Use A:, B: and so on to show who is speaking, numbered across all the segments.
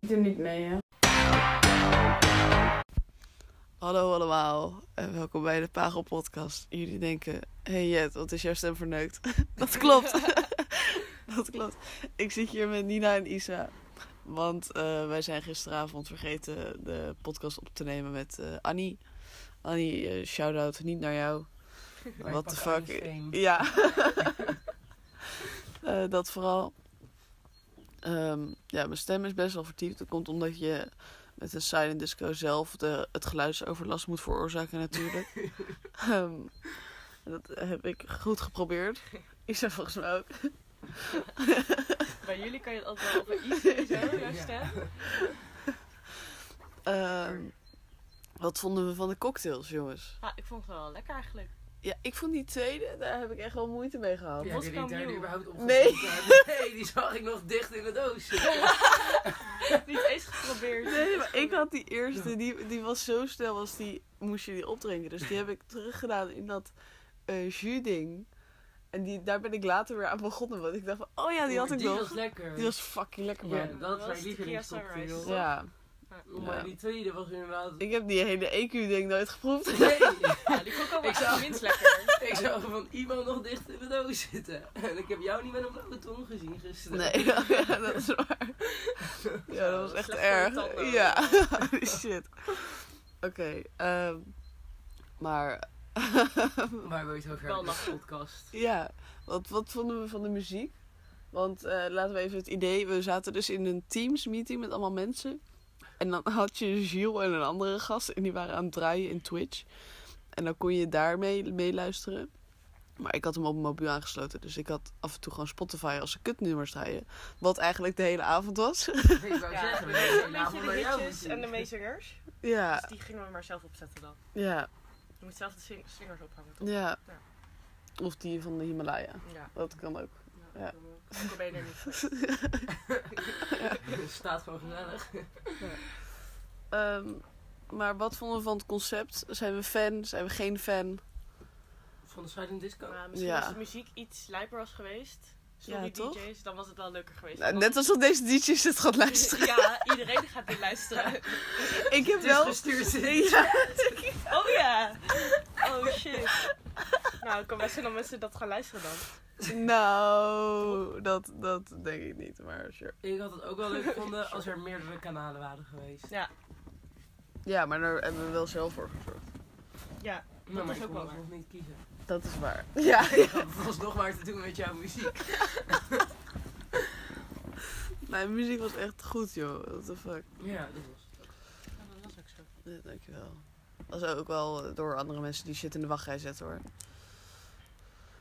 A: Ik doe niet mee, hè.
B: Hallo allemaal en welkom bij de Pagel Podcast. Jullie denken, hey Jet, wat is jouw stem verneukt? Dat klopt. Dat klopt. Ik zit hier met Nina en Isa. Want eh, wij zijn gisteravond vergeten de podcast op te nemen met eh, Annie. Annie, eh, shout-out niet naar jou. What the fuck? Ja. Eh, dat vooral. Ehm, ja, mijn stem is best wel vertiefd. Dat komt omdat je met een silent disco zelf de, het geluidsoverlast moet veroorzaken natuurlijk. Ehm, dat heb ik goed geprobeerd. Isa volgens mij ook.
C: Bij jullie kan je het altijd wel over iets en zo, jouw
D: Ja.
C: stem.
B: Ehm, wat vonden we van de cocktails, jongens?
C: Ah, ik vond het wel lekker eigenlijk.
B: Ja, ik vond die tweede, daar heb ik echt wel moeite mee gehad.
D: Ja,
C: Wat
D: die
C: kan
D: die daar
C: nieuw?
D: überhaupt op
B: Nee.
D: gezocht hebben. Nee, die zag ik nog dicht in de doos.
C: Niet eens geprobeerd.
B: Nee, maar ik had die eerste, die, die was zo snel als die moest je die opdrinken. Dus die heb ik teruggedaan in dat eh jus-ding. En die, daar ben ik later weer aan begonnen. Want ik dacht van, oh ja, die had ik
D: Die
B: nog.
D: was lekker.
B: Die was fucking lekker,
D: Ja,
B: man.
D: dat is mijn
C: tequila
D: lievelingscocktail.
C: sunrise.
B: Ja.
D: Maar
B: Ja.
D: die tweede was inderdaad...
B: Ik heb die hele EQ-ding nooit geproefd.
D: Nee,
C: Ja, die vond ik ook wel
D: Ik zou-
C: echt minst lekker.
D: ik zag van iemand nog dicht in de doos zitten. En ik heb jou niet met een blauwe tong gezien gisteren.
B: Nee, ja, dat is waar. Ja, dat was echt
C: Slecht voor je
B: erg.
C: tanden.
B: Ja, die shit. Oké, ehm, maar
D: Maar we zijn
C: Wel
D: wel een podcast.
B: ja, wat, wat vonden we van de muziek? Want eh, laten we even het idee, we zaten dus in een Teams meeting met allemaal mensen. En dan had je Gilles en een andere gast en die waren aan het draaien in Twitch. En dan kon je daarmee meeluisteren. Maar ik had hem op mijn mobiel aangesloten, dus ik had af en toe gewoon Spotify als ze kutnummers draaien. Wat eigenlijk de hele avond was.
D: Ik wou
C: Ja,
D: zeggen,
C: we
D: we zijn
C: deden een beetje
D: vanavond
C: de
D: naar jou
C: hitjes en de
D: gezien.
C: meezingers.
B: ja,
C: Dus die gingen we maar zelf opzetten dan.
B: ja,
C: Je moet zelf de zing- zingers ophangen, toch?
B: ja.
C: Ja.
B: Of die van de Himalaya.
C: Ja.
B: Dat kan ook. Ja.
C: Ik ben je er niet voor.
D: Het staat gewoon gezellig.
B: Ehm, maar wat vonden we van het concept? Zijn we fan? Zijn we geen fan?
D: Van de Silent Disco.
C: Maar misschien
B: Ja.
C: als de muziek iets lijper was geweest, sorry
B: Ja, toch?
C: DJ's, dan was het wel leuker geweest.
B: Nou,
C: Want-
B: net alsof deze DJ's het gaat luisteren. Dus
C: Ja, iedereen gaat dit luisteren.
B: Ik heb
D: Het is
B: wel...
D: gestuurd.
B: Ja.
C: Oh ja! Oh shit. Nou, ik kan best zijn dat mensen dat gaan luisteren dan.
B: Nou, dat, dat denk ik niet, maar sure.
D: Ik had het ook wel leuk gevonden als er meerdere kanalen waren geweest.
C: Ja,
B: Ja, maar daar hebben we wel zelf voor gezorgd.
C: ja.
D: Nou, maar
C: is
D: ik
C: ook
D: kon
C: wel
D: het
C: waar.
D: nog niet kiezen.
B: Dat is waar. Ja,
D: Ik had het alsnog maar te doen met jouw muziek.
B: mijn muziek was echt goed, joh. What the fuck.
D: Ja, dat was het.
C: dat was ook zo.
B: Ja, dankjewel. Dat was ook wel door andere mensen die shit in de wachtrij zetten, hoor.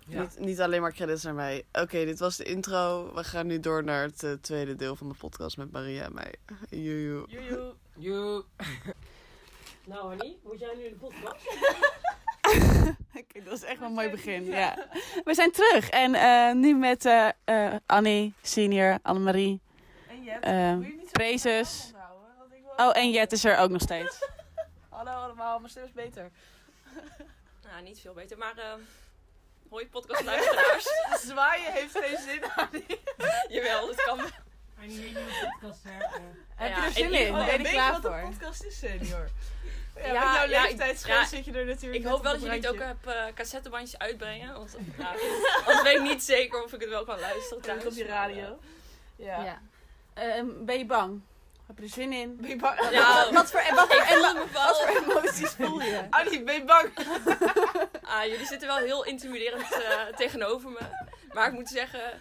D: Ja.
B: Niet, niet alleen maar credits naar mij. Oké, dit was de intro. We gaan nu door naar het eh, tweede deel van de podcast met Maria en mij. Joejoe.
C: Joejoe.
D: Joep. Nou, Annie, moet jij nu de podcast?
E: Kijk, dat is echt wel een mooi begin. Ja. We zijn terug en eh, nu met eh, eh, Annie, senior, Annemarie,
C: En Jet.
E: eh Prezes. Oh, en Jet is er ook nog steeds.
B: Hallo allemaal, mijn stem is beter.
C: Nou, niet veel beter, maar... ehm, hoi podcastluisteraars.
B: Zwaaien heeft geen zin.
C: Jawel, dat kan.
D: En hier nieuwe podcast
E: Heb je er
C: en
E: zin
C: ik-
E: in?
C: oh,
E: ben je er klaar
B: wat
E: voor?
B: een podcast is, senior. Ja,
C: Ja,
B: met jouw
C: ja, ik-
B: leeftijdsgrens
C: ja,
B: zit je er natuurlijk
C: Ik
B: net
C: hoop
B: op
C: wel
B: het
C: dat jullie het ook
B: randje.
C: op eh, cassettebandjes uitbrengen. Want ja, anders weet ik niet zeker of ik het wel kan luisteren
B: Klinkt
C: thuis. eh,
B: op je radio. Ja.
E: Ja. Ehm, ben je bang? Heb je er zin in?
B: Ben je bang?
C: Maar, eh, Ja,
E: Wat voor, wat
C: ik
E: voor,
C: voel me wel...
E: emoties voel je?
B: Annie, ben je bang?
C: Ah, jullie zitten wel heel intimiderend eh, tegenover me. Maar ik moet zeggen...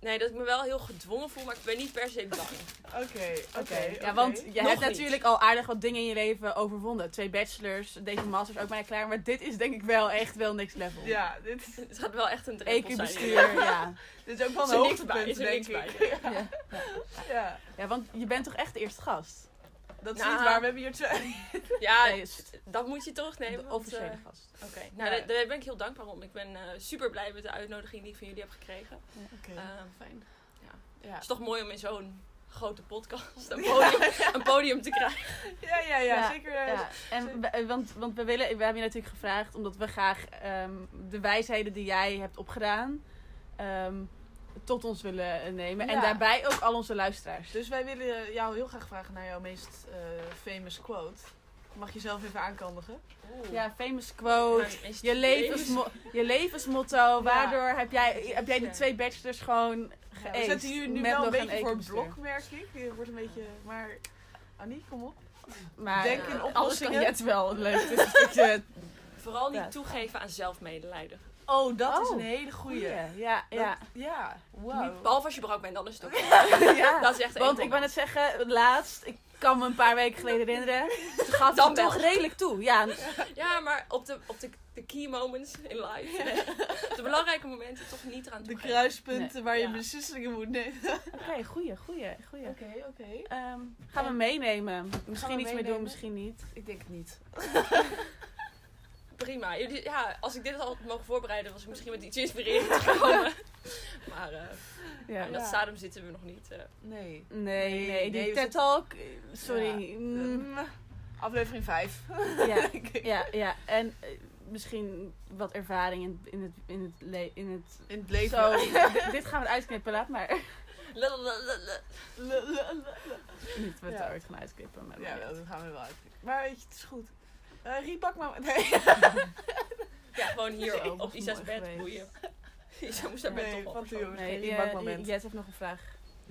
C: Nee, dat ik me wel heel gedwongen voel, maar ik ben niet per se bang.
B: Oké, oké.
E: Oké,
B: oké.
E: ja, want je
C: Nog
E: hebt
C: niet.
E: natuurlijk al aardig wat dingen in je leven overwonnen. Twee bachelors, deze masters ook bijna klaar. Maar dit is denk ik wel echt wel next level.
B: Ja, dit, is-
C: Het gaat wel echt een drempel zijn.
E: EQ-bestuur, ja.
B: dit is ook wel
C: Is
B: een
C: er niks bij,
B: hoogtepunt,
C: is er
B: denk
C: niks
B: ik.
C: bij.
E: Ja.
B: Ja,
E: ja, want je bent toch echt de eerste gast?
B: dat is
C: Nou.
B: niet waar. We hebben hier twee.
C: Ja,
E: Nee, is
C: dat moet je terugnemen.
E: de
C: want,
E: officiële
C: eh,
E: gast.
C: Oké, nou
B: Ja.
C: daar, daar ben ik heel dankbaar om. Ik ben eh, super blij met de uitnodiging die ik van jullie heb gekregen. Eh,
B: Fijn.
C: ja.
B: Ja.
C: het is toch mooi om in zo'n grote podcast een podium, een podium te krijgen.
B: Ja, ja, ja,
E: Ja,
B: zeker. eh,
E: Ja, en we- eh, want, want we, willen, we hebben je natuurlijk gevraagd omdat we graag ehm, de wijsheden die jij hebt opgedaan ehm, tot ons willen eh, nemen. En
B: Ja.
E: daarbij ook al onze luisteraars.
B: Dus wij willen jou heel graag vragen naar jouw meest eh, famous quote. Mag je zelf even aankondigen?
C: Oeh.
E: Ja, famous quote.
C: Mijn meest
E: Je, levensmo je levensmotto. Waardoor heb jij, heb jij de
C: Ja.
E: twee bachelors gewoon
B: Ja,
E: geëist.
B: we zetten jullie nu
E: met
B: wel een
E: nog
B: beetje voor
E: etenbestuur.
B: blok, merk ik. Je wordt een beetje... Maar Annie, kom op.
E: Maar
B: Denk
E: eh,
B: in
E: alles kan
B: oplossingen.
E: Jet wel. Leuk. dus Het is een stukje-
C: Vooral niet
E: Ja.
C: toegeven aan zelfmedelijden.
B: Oh, dat
E: Oh,
B: is een hele goeie.
E: Ja, ja.
B: Dat- ja, wow.
C: Behalve als je brak bent, dan is het ook.
E: ja.
C: Dat is echt
E: Want
C: één
E: ik wou net zeggen, laatst, ik kan me een paar weken geleden herinneren. Ze gaf
C: Dan
E: het toch
C: wel.
E: redelijk toe. Ja,
C: ding. Ja, maar op de, op de, de key moments in life. De belangrijke momenten toch niet eraan
B: De
C: toegeven.
B: kruispunten waar je
E: Ja.
B: beslissingen moet nemen.
E: oké, goeie, goeie, goeie.
B: Oké, oké.
E: Ehm, gaan we meenemen. Misschien iets mee
B: meenemen?
E: doen, misschien niet.
B: Ik denk het niet.
C: Prima. Jullie, ja, als ik dit al had mogen voorbereiden, was ik misschien met iets inspirerends gekomen. maar eh,
E: Ja.
C: aan dat
B: Ja.
C: stadium zitten we nog niet. eh.
B: Nee.
E: Nee, nee, die
B: nee, we
E: TED Talk. eh, Sorry.
B: Ja.
E: Mm,
B: Aflevering 5.
E: Ja, ja, ja. En eh, misschien wat ervaring in, in het, in het, le- in het
B: In het leven.
E: Zo, d- dit gaan we uitknippen, laat maar.
C: Lalalala.
E: Niet, we het
B: Ja.
E: ooit gaan uitknippen. Maar
B: Ja, wel, dat gaan we wel uit. Maar weet je, het is goed. Eh Riebak, maar... Nee,
C: Ja, gewoon hier
E: Zo,
C: op,
E: was
C: op Isa's
E: mooi
C: bed
E: geweest.
C: boeien. Isa moest daar
B: nee
C: bed toch op.
B: van de jongens.
E: nee,
B: geen
E: je-
B: Riebakmoment.
E: Jet eh, heeft nog een vraag.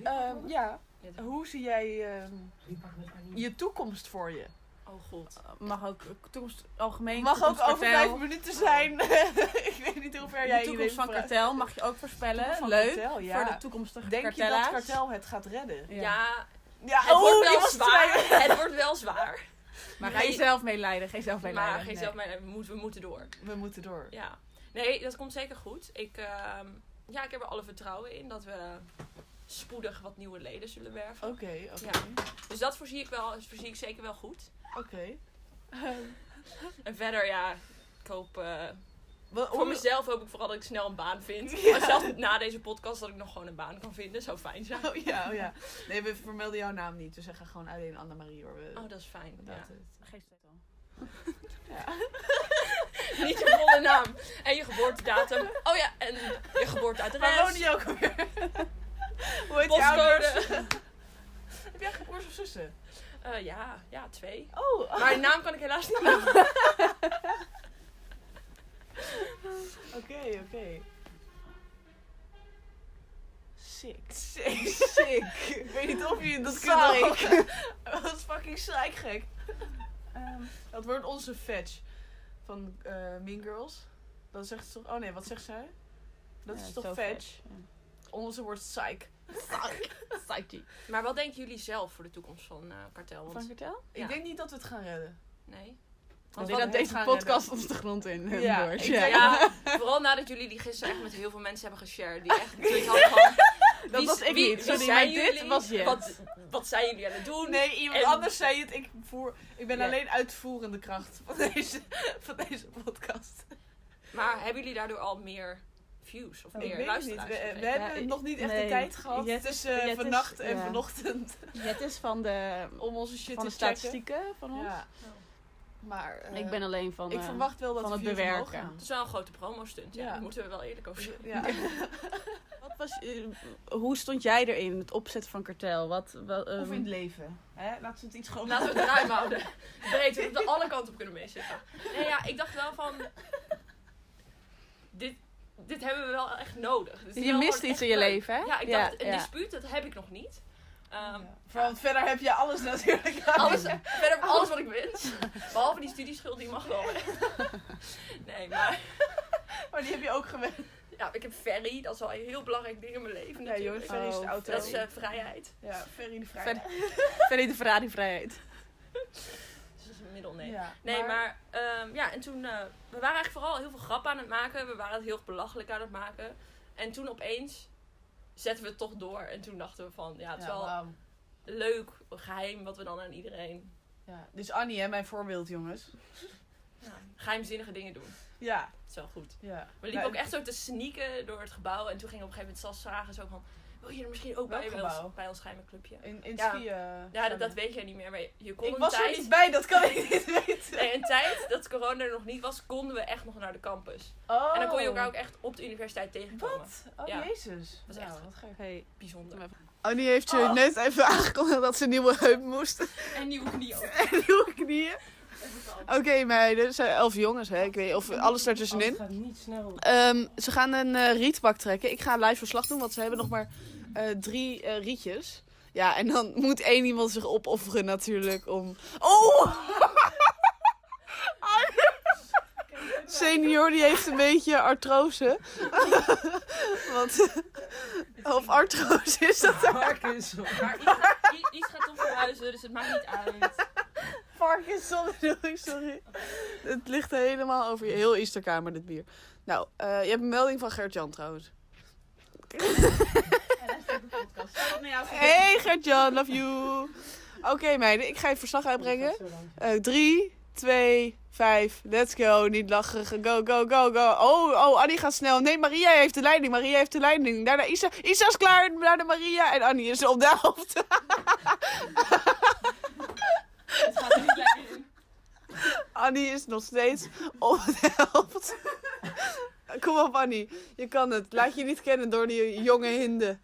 B: Ehm, ja,
C: Ja, dat-
B: hoe zie jij ehm, je toekomst voor je?
C: Oh god.
E: Mag ook eh, toekomst algemeen.
B: Het mag ook
E: toekomst
B: over
E: kartel.
B: vijf minuten zijn. ik weet niet hoe ver jij
E: De toekomst van
B: kartel.
E: kartel mag je ook voorspellen. Leuk. Voor de toekomstige
B: Denk je
E: kartellaars.
B: dat kartel het gaat redden?
E: Ja. Oh,
C: ja
B: Ja,
C: Het wordt
B: die
C: wel
B: was
C: zwaar.
B: twee.
C: Het wordt wel zwaar.
E: Maar
C: Nee.
E: geen zelfmedelijden. Geen zelfmedelijden.
C: Maar geen
E: nee.
C: zelf, maar we moeten, we moeten door.
B: We moeten door.
C: Ja. Nee, dat komt zeker goed. Ik, ehm, ja, ik heb er alle vertrouwen in dat we spoedig wat nieuwe leden zullen werven.
B: Oké, oké.
C: Ja. Dus dat voorzie ik, wel, voorzie ik zeker wel goed.
B: Oké.
C: En verder, ja, ik hoop... eh,
B: Wat-
C: voor
B: hoe-
C: mezelf hoop ik vooral dat ik snel een baan vind.
B: Ja.
C: Maar zelfs na deze podcast dat ik nog gewoon een baan kan vinden. Zou fijn zijn.
B: Oh ja, oh ja. Nee, we vermelden jouw naam niet. We zeggen gewoon alleen Annemarie hoor. We,
C: Oh, dat is fijn.
B: dat
C: Ja.
B: is-
E: Geen zetel.
C: Niet je volle naam. En je geboortedatum. Oh ja, en je
B: Waar woon
C: geboorteadres.
B: je ook alweer? Hoe heet je ouders?
C: Postcode.
B: Heb jij geen broers of zussen?
C: Eh, ja, ja, twee.
B: Oh,
C: Maar de naam kan ik helaas niet meer.
B: Oké, oké. Sick. Sick. Sick. Ik weet niet of je dat
E: Sorry.
B: kunt horen. Dat is fucking gek.
E: Ehm,
B: Dat wordt onze fetch. Van eh, Mean Girls. Dan zegt ze toch... Oh nee, wat zegt zij? Dat
E: ja,
B: is toch
E: zo
B: fetch?
E: vet.
B: Onze wordt psych.
E: Psyche.
C: Maar wat denken jullie zelf voor de toekomst van eh, kartel? Want-
E: Van kartel?
B: Ik
C: Ja.
B: denk niet dat we het gaan redden.
C: nee.
E: Want
B: Want wat
E: dat
B: we
E: deze
B: gaan
E: podcast ons de grond in eh,
B: Ja,
E: boort.
B: ik
E: Ja.
C: Ja.
B: denk-
C: vooral nadat jullie die gisteren echt met heel veel mensen hebben geshared. Die echt zoiets hadden van...
E: Dat
C: wie-
E: was ik
C: wie-
E: niet.
C: wie
E: Sorry,
C: zijn
E: maar dit
C: jullie?
E: was je.
C: Wat, wat zijn jullie aan het doen?
B: Nee, iemand
C: En-
B: anders zei het. Ik, voer, ik ben
C: Ja.
B: alleen uitvoerende kracht van deze, van deze podcast.
C: Maar hebben jullie daardoor al meer views of
E: Ik
C: meer
B: ik weet het niet.
C: luisteraars?
B: We, we
C: gekregen?
B: hebben
E: Oh, Ja,
B: nog niet echt de
E: nee.
B: tijd gehad
E: Jet is-
B: tussen
E: Jet is-
B: vannacht en
E: ja.
B: vanochtend
E: Het is van de,
B: om onze shit
E: van de
B: te checken.
E: statistieken van ons.
B: Ja. Maar eh,
E: Ik ben alleen van...
B: ik
E: eh,
B: verwacht wel dat
E: van
B: de
E: het
B: views omhoog
E: bewerken.
B: gaan.
C: Het is wel een grote promo-stunt. Ja.
B: Ja.
C: Daar moeten we wel eerlijk over zijn.
B: Ja.
E: Wat was, eh, hoe stond jij erin, het opzetten van kartel? Wat, wel, ehm,
B: Of in het leven. Hè? Laten we het iets gewoon...
C: Laten we het ruim houden. Breed, we moeten alle kanten op kunnen meezitten. Nee, ja, ik dacht wel van... Dit, dit hebben we wel echt nodig. Dit is
E: je
C: wel
E: mist
C: gewoon
E: iets in je
C: echt leuk.
E: leven, hè?
C: Ja, ik dacht, een
E: ja.
C: dispuut, dat heb ik nog niet. Ehm,
B: Ja. Voor- want verder heb je alles natuurlijk.
C: alles, verder alles wat ik wens. Behalve die studieschuld, die mag wel. weg. Nee, maar
B: Maar die heb je ook gewend.
C: ja, ik heb ferry. Dat is al een heel belangrijk ding in mijn leven
B: Ja, joh,
C: natuurlijk.
B: Ferry is de
E: Oh,
B: auto.
C: dat is eh, vrijheid.
B: Ja, Ferry de Vrij.
E: Verder- Verder de Ferrari-vrijheid.
C: Dus dat is een middelneem.
B: Ja,
C: Nee, maar, ehm, ja, en toen... eh, we waren eigenlijk vooral heel veel grappen aan het maken. We waren het heel belachelijk aan het maken. En toen opeens zetten we het toch door. En toen dachten we van, ja, het is
B: Ja,
C: wel
B: wauw.
C: leuk, een geheim wat we dan aan iedereen...
B: Ja. Dus Annie, hè, mijn voorbeeld, jongens.
C: Ja, geheimzinnige dingen doen.
B: Ja,
C: Het is wel goed.
B: ja.
C: We liepen ook echt zo te sneaken door het gebouw. En toen ging op een gegeven moment Sas vragen zo van...
E: wil je er misschien ook
B: Welk
E: bij, bij ons,
B: gebouw?
E: bij ons geheime clubje?
B: In, in
E: Ja.
B: skiën.
E: Ja, dat, dat weet jij niet meer, maar je- je kon
B: Ik
E: een
B: was er
E: tijd...
B: niet bij, dat kan ik niet weten.
E: Nee, een tijd dat corona er nog niet was, konden we echt nog naar de campus.
B: Oh.
E: En dan kon je elkaar ook echt op de universiteit tegenkomen.
B: Wat? Oh,
E: Ja.
B: jezus.
E: Dat is
B: Nou,
E: echt-
B: wat gek.
F: Hey.
E: Bijzonder.
G: Annie heeft je
B: Oh.
G: net even aangekondigd dat ze een nieuwe heup moest.
E: En nieuwe knieën ook.
G: en nieuwe knieën. Oké meiden, er zijn elf jongens hè. Ik weet of alles
D: Het
G: daartussenin.
D: gaat niet snel.
G: Ehm, ze gaan een eh, rietbak trekken. Ik ga live verslag doen, want ze hebben nog maar eh, drie eh, rietjes. Ja, en dan moet één iemand zich opofferen natuurlijk om... Oh! Senior die heeft een beetje artrose. want, eh, of artrose is dat.
D: Parkinson.
E: Maar iets gaat, i- iets gaat toch verhuizen, dus het maakt niet uit.
G: Parkinson bedoel ik, sorry. Het ligt helemaal over je heel Easterkamer, dit bier. Nou, eh, je hebt een melding van Gert-Jan trouwens.
C: nou
G: Hey Gert-Jan, love you. Oké meiden, ik ga je verslag uitbrengen. Eh, drie, twee, vijf, let's go. Niet lachen, go, go, go, go. Oh, oh, Annie gaat snel. Nee, Maria heeft de leiding, Maria heeft de leiding. Daarna Isa, Isa is klaar, daarna Maria. En Annie is op de helft.
E: Het gaat er niet lekker in.
G: Annie is nog steeds op de helft. Kom op, Annie. Je kan het. Laat je niet kennen door die jonge hinden.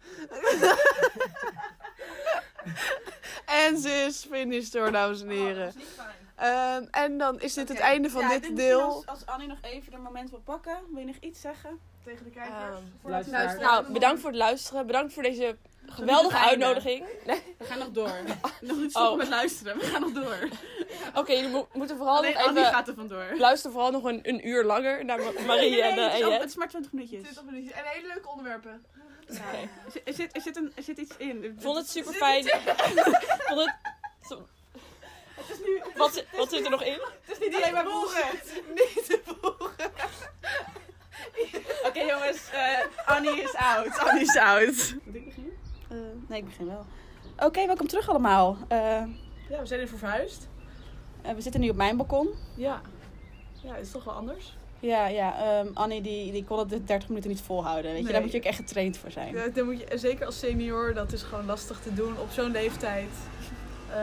G: en ze is finished door, dames en
E: Oh,
B: eh.
G: heren. Ehm, en dan is dit het einde van dit deel.
C: Als, als Annie nog even de moment wil pakken, wil je nog iets zeggen?
G: Tegen de
E: kijkers.
D: Luisteraar.
E: Ehm, Nou, bedankt voor het luisteren. Bedankt voor deze geweldige
C: einde.
E: uitnodiging.
C: We gaan nog door. nog niet stoppen
E: Oh.
C: met luisteren. We gaan nog door.
E: Oké, jullie mo- moeten vooral
C: Alleen
E: nog
C: Annie
E: even...
C: gaat er vandoor.
E: Luister vooral nog een, een uur langer naar Ma- Marie
C: Nee, nee,
E: en, eh,
C: nee, het, is
E: en
C: ook-
E: Jet.
C: het is maar 20 minuutjes.
B: En hele leuke onderwerpen.
E: Oké.
C: Er zit- Er zit, er, zit een, er zit iets in.
E: Ik vond het super fijn. vond het... zo- Wat, zi- wat zit er nog in?
B: Het is niet alleen maar boeren.
C: Oké jongens, eh, Annie is out. Annie is out. nee, ik begin wel. Oké, welkom terug allemaal. Eh,
B: Ja, we zijn even verhuisd.
C: eh, we zitten nu op mijn balkon.
B: Ja. Ja, het is toch wel anders.
C: Ja, ja. ehm, Annie die, die kon het de 30 minuten niet volhouden. Weet je,
B: Nee.
C: daar moet je ook echt getraind voor zijn.
B: Ja, dan moet je, en zeker als senior, dat is gewoon lastig te doen op zo'n leeftijd. Eh,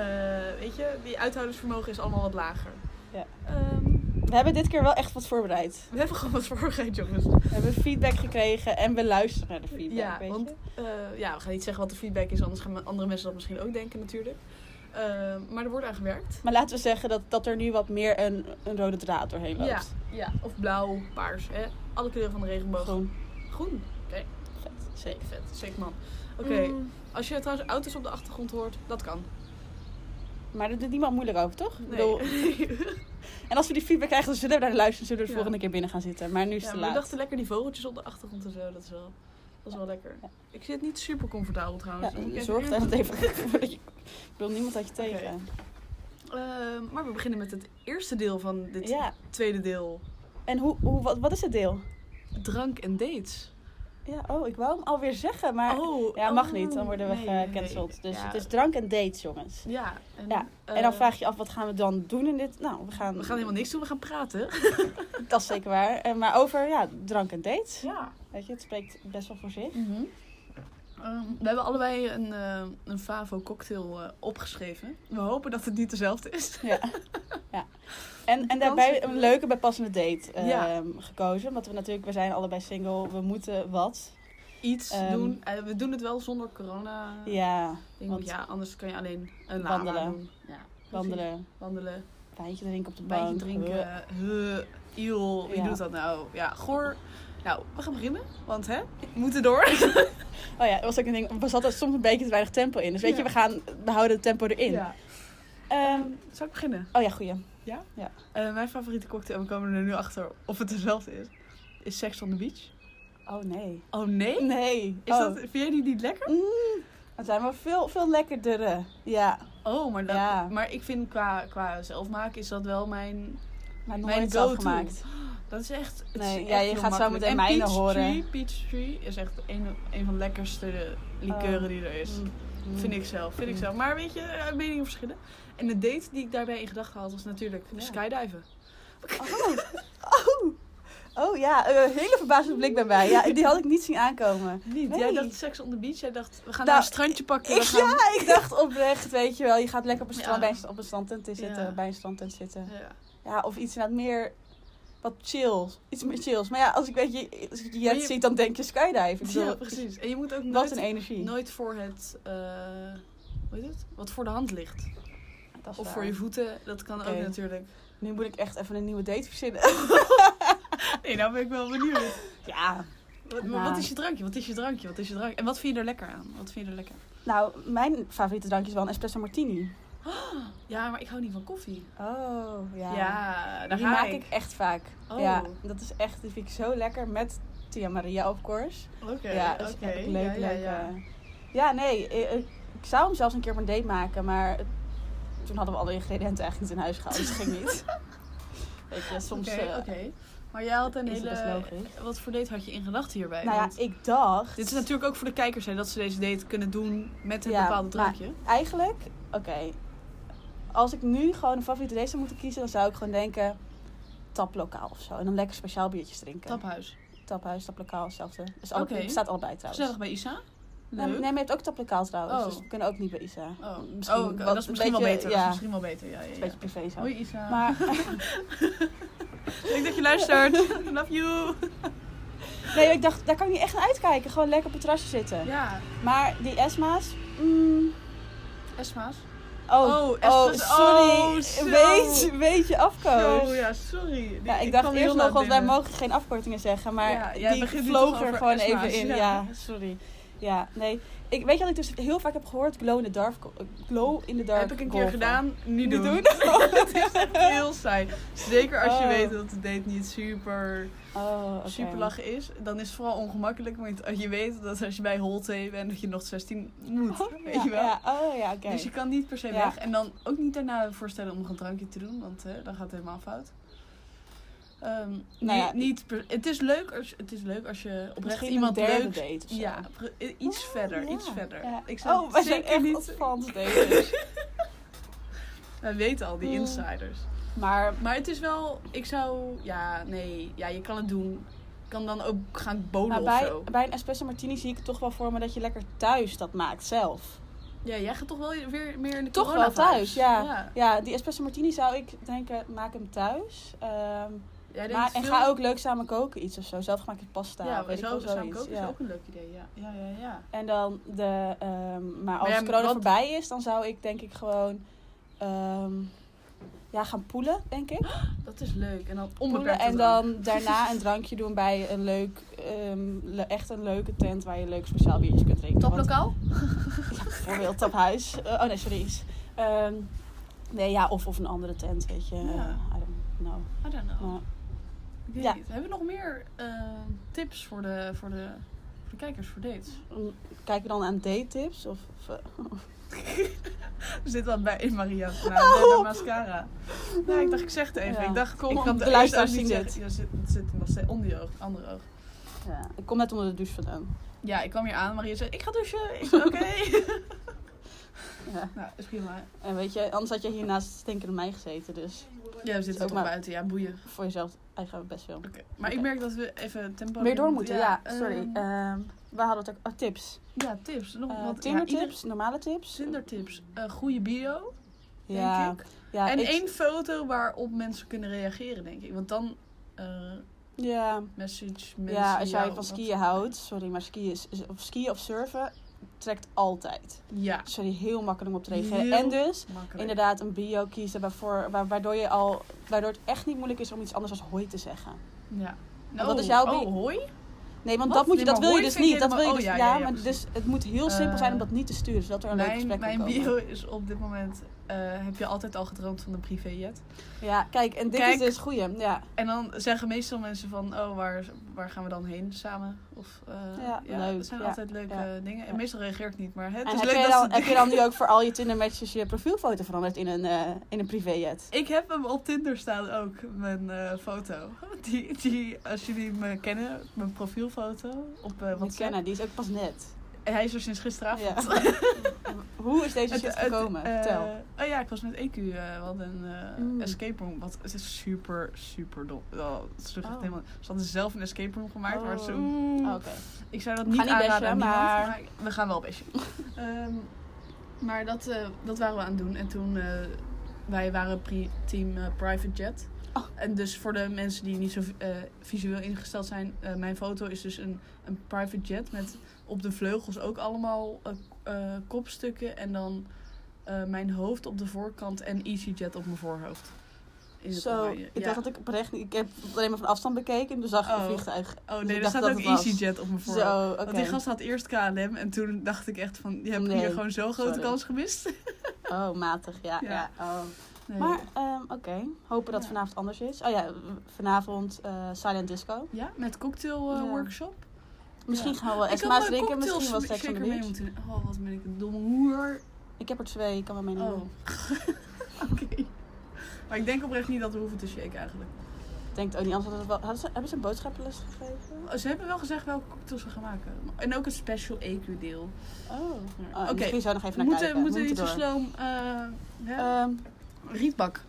B: weet je, die uithoudingsvermogen is allemaal wat lager.
C: Ja.
B: Ehm,
C: We hebben dit keer wel echt wat voorbereid.
B: we hebben gewoon wat voorgeet, jongens.
C: We hebben feedback gekregen en we luisteren naar de feedback.
B: Ja,
C: weet
B: want
C: je?
B: eh, ja, we gaan niet zeggen wat de feedback is, anders gaan me- andere mensen dat misschien ook denken natuurlijk. Ehm, maar er wordt aan gewerkt.
C: Maar laten we zeggen dat, dat er nu wat meer een, een rode draad doorheen loopt.
B: Ja, ja. Of blauw, paars, hè? alle kleuren van de regenboog.
C: Groen.
B: Groen.
C: Vet. Zeker.
B: Vet, sick man. Oké,
C: Mm.
B: als je trouwens auto's op de achtergrond hoort, dat kan.
C: Maar dat doet niemand moeilijk over, toch? Ik bedoel,
B: Nee.
C: en als we die feedback krijgen, dan zullen we naar luisteren. Zullen we de
B: Ja.
C: volgende keer binnen gaan zitten. Maar nu is het
B: Ja,
C: te
B: maar we
C: laat.
B: dachten lekker die vogeltjes op de achtergrond en zo. Dat is wel, dat is wel lekker. Ik zit niet super comfortabel trouwens. dat moet ik
C: Ja,
B: even
C: zorg daar
B: eerlijk-
C: het even voor dat je... Ik bedoel, niemand had je tegen.
B: Ehm, maar we beginnen met het eerste deel van dit
C: Ja.
B: tweede deel.
C: En hoe, hoe, wat, wat is het deel?
B: Drank en dates.
C: Ja, oh, ik wou hem alweer zeggen, maar...
B: oh,
C: ja, mag
B: oh,
C: niet. Dan worden we
B: nee, nee,
C: gecanceld.
B: nee.
C: Dus
B: Ja,
C: het is drank en dates, jongens.
B: Ja, en,
C: Ja,
B: eh,
C: en dan vraag je af, wat gaan we dan doen in dit? Nou, we gaan...
B: We gaan helemaal niks doen, we gaan praten.
C: Dat is zeker waar. Eh, maar over, ja, drank en dates.
B: Ja.
C: Weet je, het spreekt best wel voor zich.
B: Ehm, we hebben allebei een, eh, een Favo cocktail eh, opgeschreven. We hopen dat het niet dezelfde is.
C: Ja. ja. En, en
B: is
C: daarbij
B: het
C: een
B: leuk.
C: leuke bijpassende date ehm,
B: Ja.
C: gekozen. Want we natuurlijk, we zijn allebei single. We moeten wat.
B: Iets
C: Ehm.
B: doen. Eh, we doen het wel zonder corona.
C: Ja,
B: Ik
C: Want-
B: Want ja, anders kan je alleen een
C: Wandelen.
B: lama doen. Ja,
C: wandelen,
B: Wandelen,
C: wijntje drinken op de bank.
B: wijntje
C: Huh.
B: drinken. Huh, eeuw, wie
C: Ja.
B: doet dat nou? Ja, goor. Nou, we gaan beginnen, want hè, we moeten door.
C: Oh ja, dat was ook een ding. Er zat er soms een beetje te weinig tempo in. Dus weet je,
B: Ja.
C: we, gaan, we houden het tempo erin. Ehm,
B: Zal ik beginnen?
C: oh ja, goeie.
B: Eh, mijn favoriete cocktail, en we komen er nu achter of het dezelfde is, is Sex on the Beach.
C: Oh nee.
B: Oh nee?
C: Nee.
B: Is
C: Oh.
B: dat, vind jij die niet lekker?
C: Mm, er zijn wel veel, veel lekkerdere. Ja.
B: Oh, maar, dat,
C: Ja.
B: maar ik vind qua, qua zelfmaken is dat wel mijn...
C: Maar nooit
B: Mijn
C: Mijn
B: go-to.
C: gemaakt.
B: Dat is echt... het
C: Nee,
B: is
C: ja,
B: echt
C: je
B: heel
C: gaat zo
B: makkelijk.
C: meteen
B: en
C: mijne
B: Peachtree,
C: horen.
B: Peachtree is echt een, een van de lekkerste likeuren
C: Oh.
B: die er is.
C: Mm.
B: Vind ik zelf, vind ik
C: Mm.
B: zelf. Maar weet je, eh, meningen verschillen. En de date die ik daarbij in gedachten had was natuurlijk
C: Ja.
B: skydiven.
C: Oh. Oh ja, een hele verbaasde blik bij mij. Ja, die had ik niet zien aankomen.
B: Niet.
C: Nee.
B: Jij dacht seks on the beach. Jij dacht, we gaan
C: Nou,
B: naar een strandje pakken.
C: ik-
B: we gaan...
C: Ja, ik dacht oprecht, weet je wel, je gaat lekker op een, strand,
B: Ja.
C: bij een, op een strandtent zitten.
B: Ja.
C: Bij een strandtent zitten.
B: Ja.
C: Ja, of iets inderdaad meer wat chills. Iets meer chills. Maar ja, als ik weet je, als ik je
B: Maar
C: jet
B: je-
C: ziet, dan denk je skydive. Ik bedoel,
B: Ja, precies. En je moet ook
C: Wat een
B: nooit,
C: energie.
B: nooit voor het, eh, hoe heet het? Wat voor de hand ligt.
C: Dat is
B: Of
C: waar.
B: voor je voeten. Dat kan
C: Oké.
B: ook natuurlijk.
C: Nu moet ik echt even een nieuwe date verzinnen.
B: Nee, nou ben ik wel benieuwd.
C: ja.
B: Wat, maar
C: Nou.
B: wat is je drankje? Wat is je drankje? Wat is je drankje? En wat vind je er lekker aan? Wat vind je er lekker? aan?
C: Nou, mijn favoriete drankje is wel een espresso martini.
B: Ja, maar ik hou niet van koffie.
C: Oh, ja.
B: Ja, daar
C: Die
B: ga
C: maak ik.
B: ik.
C: echt vaak.
B: Oh.
C: Ja, dat is echt, die vind ik zo lekker met Tia Maria, of course.
B: Oké,
C: ja, dat is
B: oké.
C: echt leuk,
B: Ja, ja,
C: leuk.
B: ja.
C: eh. Ja, nee, eh, eh, ik zou hem zelfs een keer op een date maken, maar het- toen hadden we alle ingrediënten eigenlijk niet in huis gehaald, dus het ging niet. Weet je, soms
B: Oké,
C: eh,
B: oké. Maar jij had een
C: is het best
B: hele...
C: logisch.
B: Wat voor date had je in gedachten hierbij?
C: Nou ja,
B: Want
C: ik dacht...
B: Dit is natuurlijk ook voor de kijkers hè, dat ze deze date kunnen doen met een
C: Ja,
B: bepaalde
C: maar-
B: drankje.
C: eigenlijk, oké. als ik nu gewoon een favoriete race zou moeten kiezen, dan zou ik gewoon denken taplokaal of zo. En dan lekker speciaal biertjes drinken.
B: Taphuis.
C: Taphuis, taplokaal, hetzelfde. Dus alle,
B: Oké.
C: het staat allebei trouwens.
B: Gezellig bij Isa.
C: Nee,
B: Leuk.
C: nee, maar je hebt ook taplokaal
B: Oh.
C: trouwens. Dus we kunnen ook niet bij Isa.
B: Oh,
C: Misschien
B: Oh, oké,
C: wat-
B: dat is
C: een
B: misschien wel
C: beetje-
B: beter.
C: ja.
B: Dat is misschien wel beter, ja. ja,
C: Een
B: ja.
C: beetje privé zo.
B: Hoi Isa.
C: Maar
B: Ik denk dat je luistert. Love you.
C: nee, ik dacht, daar kan ik niet echt naar uitkijken. Gewoon lekker op het terrasje zitten.
B: Ja,
C: Maar die Esma's... mm,
B: Esma's.
C: oh,
B: Oh,
C: oh,
B: Esma's.
C: sorry.
B: Oh, zo.
C: weet, weet je afkoos.
B: Zo, ja, sorry. Die-
C: Ja, ik, dacht
B: kwam
C: eerst
B: heel
C: nog,
B: laat
C: want wij
B: binnen.
C: mogen geen afkortingen zeggen, maar
B: Ja, jij
C: die
B: begint nu
C: vloog
B: toch
C: er
B: over
C: gewoon
B: Esma's,
C: even in. Ja.
B: ja.
C: sorry. Ja, nee. Ik, weet je wat ik dus heel vaak heb gehoord? Glow in the dark. eh, Glow in the dark.
B: Heb ik een keer
C: golven.
B: gedaan. Niet
C: Niet
B: doen.
C: doen.
B: Dat is echt heel saai. Zeker als je
C: Oh.
B: weet dat de date niet super,
C: Oh, oké.
B: super lachen is. Dan is het vooral ongemakkelijk. Want als je weet dat als je bij Holte bent, dat je nog 16 moet.
C: Oh,
B: weet
C: ja,
B: je wel?
C: ja. Oh ja, oké.
B: Dus je kan niet per se
C: Ja.
B: weg. En dan ook niet daarna voorstellen om nog een drankje te doen, want hè, dan gaat het helemaal fout. Ehm, nee,
C: Nou ja.
B: niet per- het, is leuk als, het is leuk als je oprecht
C: Misschien
B: iemand
C: een derde
B: leuk.
C: date of zo.
B: Ja, pre- i- iets
C: Oh,
B: verder,
C: ja.
B: iets verder.
C: Ja.
B: Ik zou
C: Oh, wij zijn
B: zeker
C: echt
B: niet.
C: advanced daters.
B: Wij weten al die
C: Mm.
B: insiders.
C: maar
B: Maar het is wel, ik zou, ja, nee, ja, je kan het doen. Je kan dan ook gaan bowlen
C: maar
B: of
C: bij,
B: zo.
C: bij een espresso martini zie ik toch wel voor me dat je lekker thuis dat maakt zelf.
B: Ja, jij gaat toch wel weer meer in de
C: Toch wel
B: corona-vibes.
C: thuis, ja.
B: ja.
C: Ja, die espresso martini zou ik denken, maak hem thuis. Ehm,
B: Jij
C: Maar,
B: denkt
C: en
B: veel-
C: ga ook leuk samen koken iets of zo. Zelfgemaakte pasta.
B: Ja,
C: of
B: maar
C: weet ik
B: zo
C: wel,
B: zou
C: zoiets,
B: ik ook,
C: ja.
B: is ook een leuk idee, ja. Ja, ja, ja.
C: En dan de... ehm, maar als
B: ja,
C: corona
B: wat-
C: voorbij is, dan zou ik denk ik gewoon... ehm, ja, gaan poelen, denk ik.
B: Dat is leuk. En dan
C: Poelen
B: onbeperkt
C: en dan daarna een drankje doen bij een leuk... ehm, le- echt een leuke tent waar je leuk speciaal biertje kunt drinken. Want
B: Toplokaal?
C: Bijvoorbeeld taphuis. Eh, oh nee, sorry. is. Ehm, nee, ja, of, of een andere tent, weet je. Eh,
B: Ja.
C: I don't know.
B: I don't know.
C: Maar-
B: Ik weet
C: Ja.
B: niet. Hebben we nog meer eh, tips voor de, voor, de, voor de kijkers voor dates?
C: Mm, Kijken we dan aan date tips? Of, of, eh,
B: Zit wat bij in Maria's naam,
C: Oh.
B: de mascara. Nou, ik dacht, ik zeg het even.
C: Ja.
B: Ik dacht,
C: Kom
B: ik
C: op,
B: kan
C: de
B: de
C: luisteraars
B: eerste
C: zien
B: niet zeggen. Ja, zit, zit nog steeds onder je oog, andere oog.
C: ja. Ik kom net onder de douche vandaan.
B: Ja, ik kwam hier aan. Maria zei, ik ga douchen. Ik zei, oké.
C: Ja.
B: nou, is prima.
C: En weet je, anders had je hier naast stinkende mij gezeten. Dus
B: Ja, we
C: Ook
B: zitten toch
C: maar-
B: buiten. Ja, boeien.
C: voor jezelf eigenlijk best veel.
B: Oké. Maar ik
C: Oké.
B: merk dat we even tempo...
C: Meer door moeten, ja. sorry.
B: ehm,
C: Ehm, waar hadden we het ook? Oh, tips.
B: ja, tips. Nog
C: Eh,
B: wat. ja,
C: Tinder
B: ieder-
C: tips, normale tips.
B: Tinder tips. Eh, goede bio. denk
C: ja.
B: ik.
C: Ja,
B: en
C: ik-
B: één foto waarop mensen kunnen reageren, denk ik. Want dan eh,
C: Ja,
B: message mensen.
C: ja als jij
B: jou
C: van
B: wat-
C: skiën houdt. Sorry, maar skiën, is, is- of skiën of surfen trekt altijd.
B: Ja,
C: Sorry, heel makkelijk om op te reageren.
B: Heel
C: En dus
B: makkelijk.
C: inderdaad een bio kiezen waarvoor, wa- waardoor, je al, waardoor het echt niet moeilijk is om iets anders als hoi te zeggen.
B: Ja.
C: Want dat is jouw
B: oh,
C: bio-
B: hoi.
C: Nee, want
B: Wat?
C: dat, moet je,
B: Nee, maar
C: dat wil je
B: hoi
C: dus
B: vind ik
C: niet. Dat wil je
B: helemaal-
C: dus,
B: oh,
C: ja,
B: ja, ja, ja,
C: maar dus het moet heel
B: Eh,
C: simpel zijn om dat niet te sturen, zodat er een leuk
B: Mijn,
C: gesprek kan
B: mijn
C: komen.
B: bio is op dit moment... eh, heb je altijd al gedroomd van een privéjet?
C: Ja, kijk, en dit
B: Kijk.
C: is dus goeie. Ja,
B: En dan zeggen meestal mensen van... Oh, waar, waar gaan we dan heen samen? Of, eh,
C: Ja, leuk,
B: Dat zijn
C: ja,
B: altijd leuke
C: ja,
B: dingen. En
C: ja.
B: meestal reageer ik niet, maar het
C: En
B: is
C: heb,
B: leuk
C: je
B: dat
C: dan,
B: ze
C: heb je dan nu ook voor al je Tinder matches je profielfoto veranderd in een, eh in een privéjet?
B: Ik heb hem op Tinder staan ook, mijn eh, foto. Die, die, als jullie me kennen, mijn profielfoto op eh,
C: Want
B: WhatsApp.
C: Kenna, die is ook pas net.
B: Hij is er sinds gisteravond.
H: Hoe is deze shit
B: Het- het,
H: gekomen?
B: eh,
H: Vertel.
B: Oh ja, ik was met EQ. eh, we hadden een eh,
E: Mm.
B: escape room. Wat, het is super, super dom. Oh, het sloeg echt
H: Oh.
B: helemaal, ze hadden zelf een escape room gemaakt. Maar het is zo,
H: Oh.
B: mm,
H: Oké.
B: Ik zou dat
H: We
B: niet
H: gaan niet
B: aanraden
H: bashen,
B: aan niemand,
H: maar-
B: maar we gaan wel besje. maar dat, eh, dat waren we aan het doen. En toen, eh, wij waren pri- team eh, private jet.
H: Oh.
B: En dus voor de mensen die niet zo eh, visueel ingesteld zijn, eh, mijn foto is dus een, een private jet met op de vleugels ook allemaal eh, eh, kopstukken. En dan eh, mijn hoofd op de voorkant en EasyJet op mijn voorhoofd. In het
H: Zo,
B: oranje.
H: ik
B: Ja.
H: dacht dat ik oprecht... Ik heb het alleen maar van afstand bekeken. En
C: dus
H: toen zag ik
B: Oh.
H: een vliegtuig.
B: Oh
H: dus
B: nee,
H: ik
B: er
H: dacht
B: staat
H: dat
B: ook
H: het was.
B: EasyJet op mijn voorhoofd.
H: Zo, oké.
B: Want die gast had eerst KLM en toen dacht ik echt van, je hebt
H: Nee,
B: hier gewoon zo'n grote
H: sorry.
B: kans gemist.
H: Oh, matig. Ja,
B: Ja.
H: ja. oh.
B: Nee.
H: Maar, ehm, oké. Hopen dat
B: Ja.
H: vanavond anders is. Oh ja, w- vanavond eh, Silent Disco.
B: ja, met cocktail eh,
H: Ja.
B: workshop.
H: Misschien
B: Ja.
H: gaan we
B: Ik had
H: Esma's
B: mijn
H: drinken.
B: cocktails
H: Misschien wel Sex on the
B: shaker mee
H: Beach.
B: moeten doen. Oh, wat ben ik een domme hoer.
H: Ik heb er twee. Ik kan wel meenemen.
B: Oh. Oké. Maar ik denk oprecht niet dat we hoeven te shaken eigenlijk.
H: Ik denk oh, het ook niet. Anders hadden ze wel... hadden ze- hebben ze een boodschappenlist gegeven?
B: Oh, Ze hebben wel gezegd welke cocktails we gaan maken. En ook het special EQ deel.
H: Oh.
B: Maar-
H: Oké.
B: Oké.
H: Misschien zou je nog
B: We
H: even naar
B: moeten,
H: kijken.
B: moeten we niet zo
H: door.
B: sloom... eh, hè?
H: Ehm,
B: rietbak.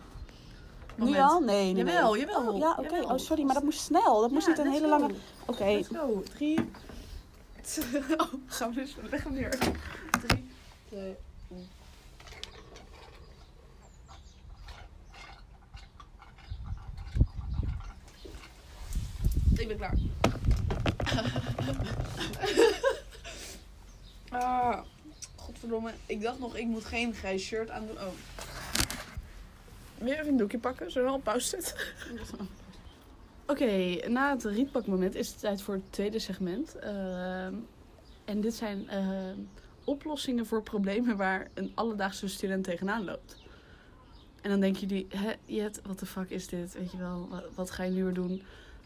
H: nu
B: Moment.
H: al? Nee, nee.
B: Jawel,
H: nee.
B: jawel.
H: Oh, ja, oké.
B: Jawel.
H: Oh, sorry, maar dat moest snel. Dat moest
B: Ja,
H: niet een
B: let's
H: hele
B: go.
H: lange... Oké.
B: Let's go. Drie. oh, gaan we dus. Leg hem neer. Drie. Twee. Ik ben klaar. ah, godverdomme. Ik dacht nog, ik moet geen grijs shirt aandoen. Oh. Weer even een doekje pakken, zodat we al op pauze zitten. Oké, na het rietbakmoment is het tijd voor het tweede segment. Ehm, en dit zijn ehm, oplossingen voor problemen waar een alledaagse student tegenaan loopt. En dan denken jullie, hè, Jet, wat de fuck is dit? Weet je wel, wat, wat ga je nu weer doen?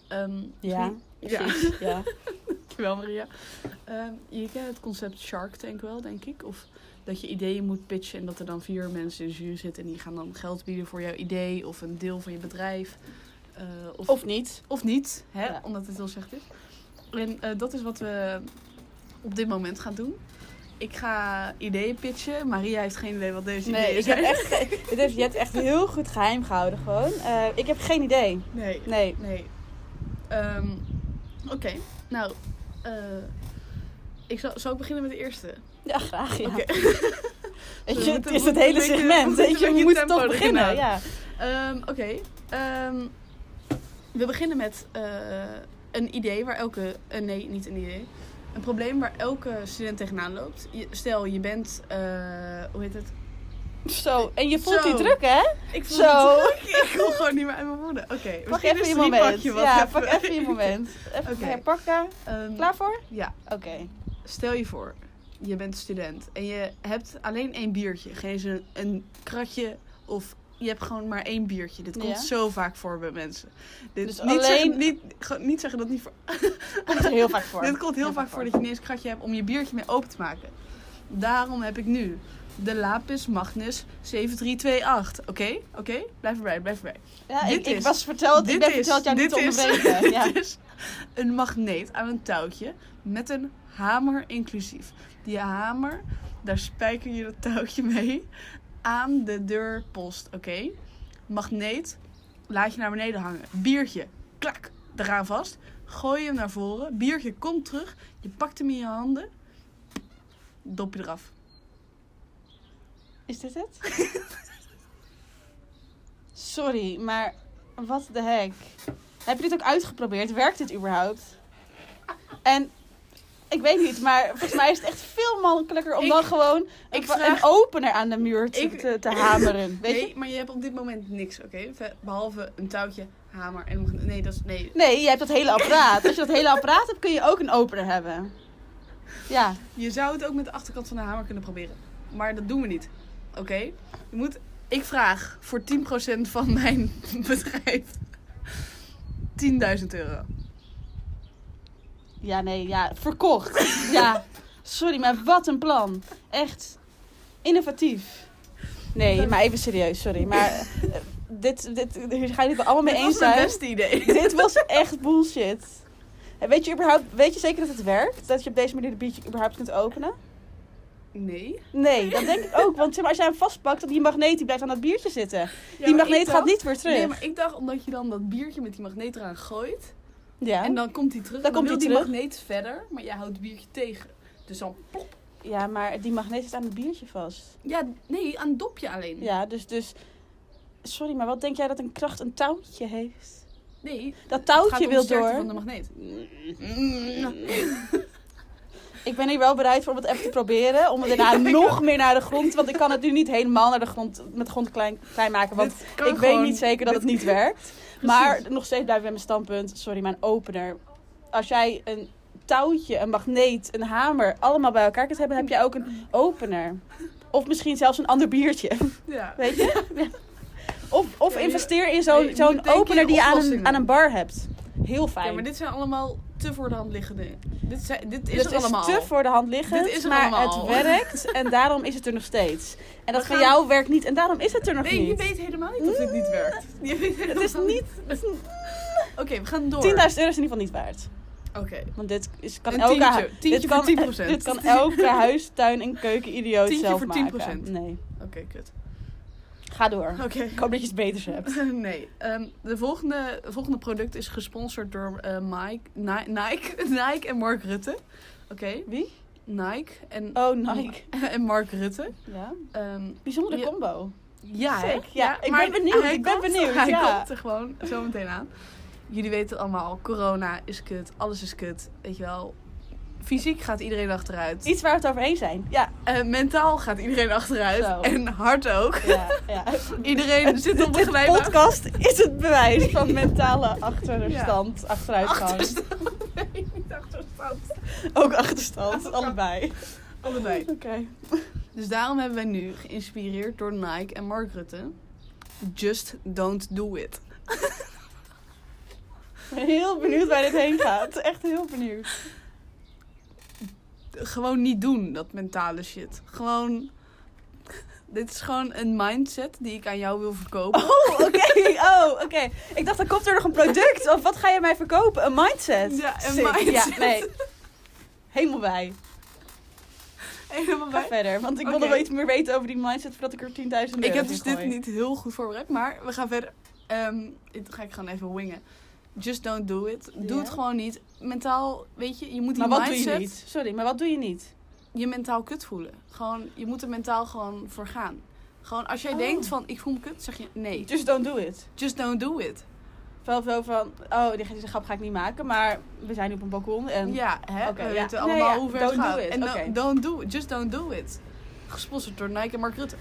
B: Ehm,
H: Ja,
B: ja.
H: precies. Ja.
B: Dankjewel, Maria. Ehm, je kent het concept Shark Tank wel, denk ik. Of dat je ideeën moet pitchen en dat er dan vier mensen in de jury zitten... en die gaan dan geld bieden voor jouw idee of een deel van je bedrijf. Eh,
H: Of niet.
B: of niet, hè?
H: Ja.
B: omdat het heel slecht is. En eh, dat is wat we op dit moment gaan doen. Ik ga ideeën pitchen. Maria heeft geen idee wat deze
H: Nee,
B: ideeën
H: ik heb
B: zijn.
H: echt... Dit heeft Jet echt heel goed geheim gehouden gewoon. Eh, ik heb geen idee.
B: Nee,
H: Nee.
B: nee. Ehm, Oké, nou. eh, ik zal, zal ik beginnen met de eerste?
H: Ja, graag. Ja.
B: Oké.
H: Weet
B: We
H: je,
B: moeten-
H: het
B: we
H: is het
B: moeten
H: hele
B: een beetje-
H: segment.
B: we moeten
H: Weet je,
B: een beetje
H: we moeten
B: tempo
H: toch
B: erin
H: beginnen.
B: houden.
H: Ja.
B: Ehm, Oké. ehm, we beginnen met eh, een idee waar elke. eh, nee, niet een idee. Een probleem waar elke student tegenaan loopt. Je- stel, je bent. eh, hoe heet het?
H: Zo, en je voelt
B: Zo.
H: die druk, hè?
B: Ik voel
H: Zo.
B: het- Ik kom gewoon niet meer uit mijn woorden. Oké,
H: Pak
B: misschien
H: even je
B: is het
H: moment.
B: rietbakje wat
H: ja,
B: even-
H: pak even je moment. Even
B: Oké.
H: herpakken.
B: Ehm,
H: Klaar voor?
B: Ja,
H: Oké.
B: stel je voor, je bent student en je hebt alleen één biertje. Geen eens een, een kratje of je hebt gewoon maar één biertje. Dit komt
H: Ja.
B: zo vaak voor bij mensen. Dit,
H: Dus
B: niet, zeggen,
H: alleen-
B: niet, ge- niet zeggen dat het niet voor
H: Komt er heel vaak voor.
B: Dit komt heel vaak voor dat je ineens een kratje hebt om je biertje mee open te maken. Daarom heb ik nu de Lapis Magnus 7328. Oké, oké, blijf erbij, blijf erbij.
H: Ja,
B: dit
H: ik, ik
B: is-
H: was verteld, Oh, ik ben verteld jou niet te
B: is-
H: onderbreken. Ja.
B: dit is een magneet aan een touwtje met een hamer inclusief. Die hamer, daar spijker je dat touwtje mee aan de deurpost, oké? Magneet, laat je naar beneden hangen. Biertje, klak, eraan vast. Gooi hem naar voren. Biertje komt terug. Je pakt hem in je handen. Dop je eraf.
H: Is dit het? Sorry, maar wat de heck. Heb je dit ook uitgeprobeerd? Werkt dit überhaupt? En ik weet niet, maar volgens mij is het echt veel makkelijker om
B: Ik-
H: dan gewoon een,
B: ik
H: va-
B: vraag-
H: een opener aan de muur te,
B: Ik-
H: te, te hameren. Weet
B: nee,
H: je?
B: maar je hebt op dit moment niks, oké? Ve- Behalve een touwtje, hamer en... magne- Nee, dat is... Nee,
H: Nee, je hebt dat hele apparaat. Als je dat hele apparaat hebt, kun je ook een opener hebben. Ja,
B: Je zou het ook met de achterkant van de hamer kunnen proberen. Maar dat doen we niet. Oké? Je moet... Ik vraag voor 10% van mijn bedrijf 10.000 euro.
H: ja, nee, ja, verkocht. Ja, sorry, maar wat een plan. Echt innovatief. Nee, maar even serieus, sorry. Maar eh, dit, dit, hier ga je het wel allemaal mee
B: Dit
H: eens
B: was mijn
H: zijn.
B: beste idee.
H: Dit was echt bullshit. En weet je, überhaupt, weet je zeker dat het werkt? Dat je op deze manier de biertje überhaupt kunt openen?
B: Nee.
H: Nee, dat denk ik ook. Want zeg maar, als jij hem vastpakt, dan die magneet die blijft aan dat biertje zitten. die magneet gaat niet weer terug.
B: Nee, maar ik dacht omdat je dan dat biertje met die magneet eraan gooit.
H: ja.
B: En dan komt hij terug.
H: Dan
B: Dan,
H: komt
B: wil
H: die
B: die
H: terug.
B: magneet verder, maar jij houdt het biertje tegen. Dus dan plop.
H: ja, maar die magneet zit aan het biertje vast.
B: Ja, nee, aan het dopje alleen.
H: Ja, dus, dus... Sorry, maar wat denk jij dat een kracht een touwtje heeft?
B: Nee,
H: Dat
B: het gaat om
H: touwtje
B: de
H: wil
B: sterkte
H: door.
B: van de magneet.
H: Ik ben hier wel bereid voor om het even te proberen. Om het daarna nog meer naar de grond. Want ik kan het nu niet helemaal naar de grond, met de grond klein, klein maken. Want
B: Dit
H: ik
B: kan
H: weet
B: gewoon.
H: niet zeker dat het niet werkt. Maar nog steeds blijf ik bij mijn standpunt. Sorry, mijn opener. Als jij een touwtje, een magneet, een hamer allemaal bij elkaar kunt hebben, heb jij ook een opener. Of misschien zelfs een ander biertje.
B: Ja.
H: Weet je? Ja. Of, of
B: Ja, je-
H: investeer in
B: nee,
H: zo'n
B: je
H: zo'n
B: moet denken
H: opener
B: in
H: die je aan een,
B: oplossingen.
H: aan een bar hebt. Heel fijn.
B: ja, maar dit zijn allemaal te voor de hand liggende dingen. Dit, zijn, dit is
H: Dit
B: er allemaal.
H: te voor de hand liggend,
B: Dit is er
H: maar
B: allemaal.
H: het werkt en daarom is het er nog steeds. En dat
B: We
H: van
B: gaan-
H: jou werkt niet en daarom is het er nog
B: Nee, je
H: niet.
B: weet helemaal niet of dit niet werkt. Je weet
H: Mm. Het
B: helemaal
H: is niet...
B: Oké, we gaan door.
H: 10.000 euro is in ieder geval niet waard.
B: Oké.
H: Want dit is, kan
B: Een
H: elke...
B: tientje.
H: hu-
B: Tientje
H: dit
B: voor 10%.
H: kan, Dit kan elke huis, tuin en keuken idioot
B: Tientje
H: zelf
B: voor
H: maken.
B: 10%.
H: Nee.
B: Oké, kut.
H: Ga door.
B: Oké.
H: Ik hoop dat je iets beters hebt.
B: Nee, ehm, de volgende, het volgende product is gesponsord door eh, Mike, Ni- Nike, Nike en Mark Rutte. Oké.
H: Wie?
B: Nike en,
H: Oh, Nike.
B: en Mark Rutte.
H: Ja.
B: Ehm,
H: Bijzondere
B: Ja.
H: combo.
B: ja, hè?
H: Sick. Ja, ik
B: maar
H: ben benieuwd,
B: hij
H: ik ben
B: komt-
H: benieuwd,
B: Hij
H: ja.
B: komt er gewoon zo meteen aan. Jullie weten het allemaal, corona is kut, alles is kut, weet je wel. Fysiek gaat iedereen achteruit.
H: Iets waar we het over eens zijn. Ja.
B: Eh, mentaal gaat iedereen achteruit.
H: Zo.
B: En hard ook.
H: ja, ja.
B: Iedereen zit op een
H: Dit
B: glijbaan.
H: podcast is het bewijs van mentale achterstand, achteruitgang.
B: Niet achterstand.
H: Ook achterstand, allebei.
B: Allebei.
H: Oké.
B: Dus daarom hebben wij nu, geïnspireerd door Nike en Mark Rutte, Just Don't Do It.
H: Heel benieuwd waar dit heen gaat. Echt heel benieuwd.
B: Gewoon niet doen, dat mentale shit. Gewoon... Dit is gewoon een mindset die ik aan jou wil verkopen.
H: Oh, oké. Oh, oké. Ik dacht, dan komt er nog een product. Of wat ga je mij verkopen? Een mindset.
B: Ja, een
H: Sick.
B: mindset.
H: Ja, nee. Helemaal bij.
B: Helemaal
H: Ga
B: bij.
H: verder. Want ik
B: Oké.
H: wilde wel iets meer weten over die mindset voordat ik er 10.000 euro
B: Ik heb
H: in
B: dus dit
H: gooi.
B: niet heel goed voorbereid, maar we gaan verder. Ehm dit ga ik gewoon even wingen. Just don't do it. Doe
H: Ja.
B: het gewoon niet. Mentaal, weet je, je moet die
H: Maar wat
B: mindset
H: doe je niet? Sorry, maar wat doe je niet?
B: je mentaal kut voelen. Gewoon, je moet er mentaal gewoon voor gaan. Gewoon als jij
H: Oh.
B: denkt van ik voel me kut, zeg je nee.
H: Just Dus don't do it.
B: Just don't do it.
H: Veel, veel van, oh, die, deze grap ga ik niet maken, maar we zijn nu op een balkon en...
B: ja, hè?
H: Oké,
B: we
H: ja.
B: weten
H: Nee,
B: allemaal
H: ja,
B: hoe ver
H: don't
B: het gaat.
H: do it.
B: En don't-
H: Oké.
B: don't do it. Just don't do it. Gesponsord door Nike en Mark Rutte.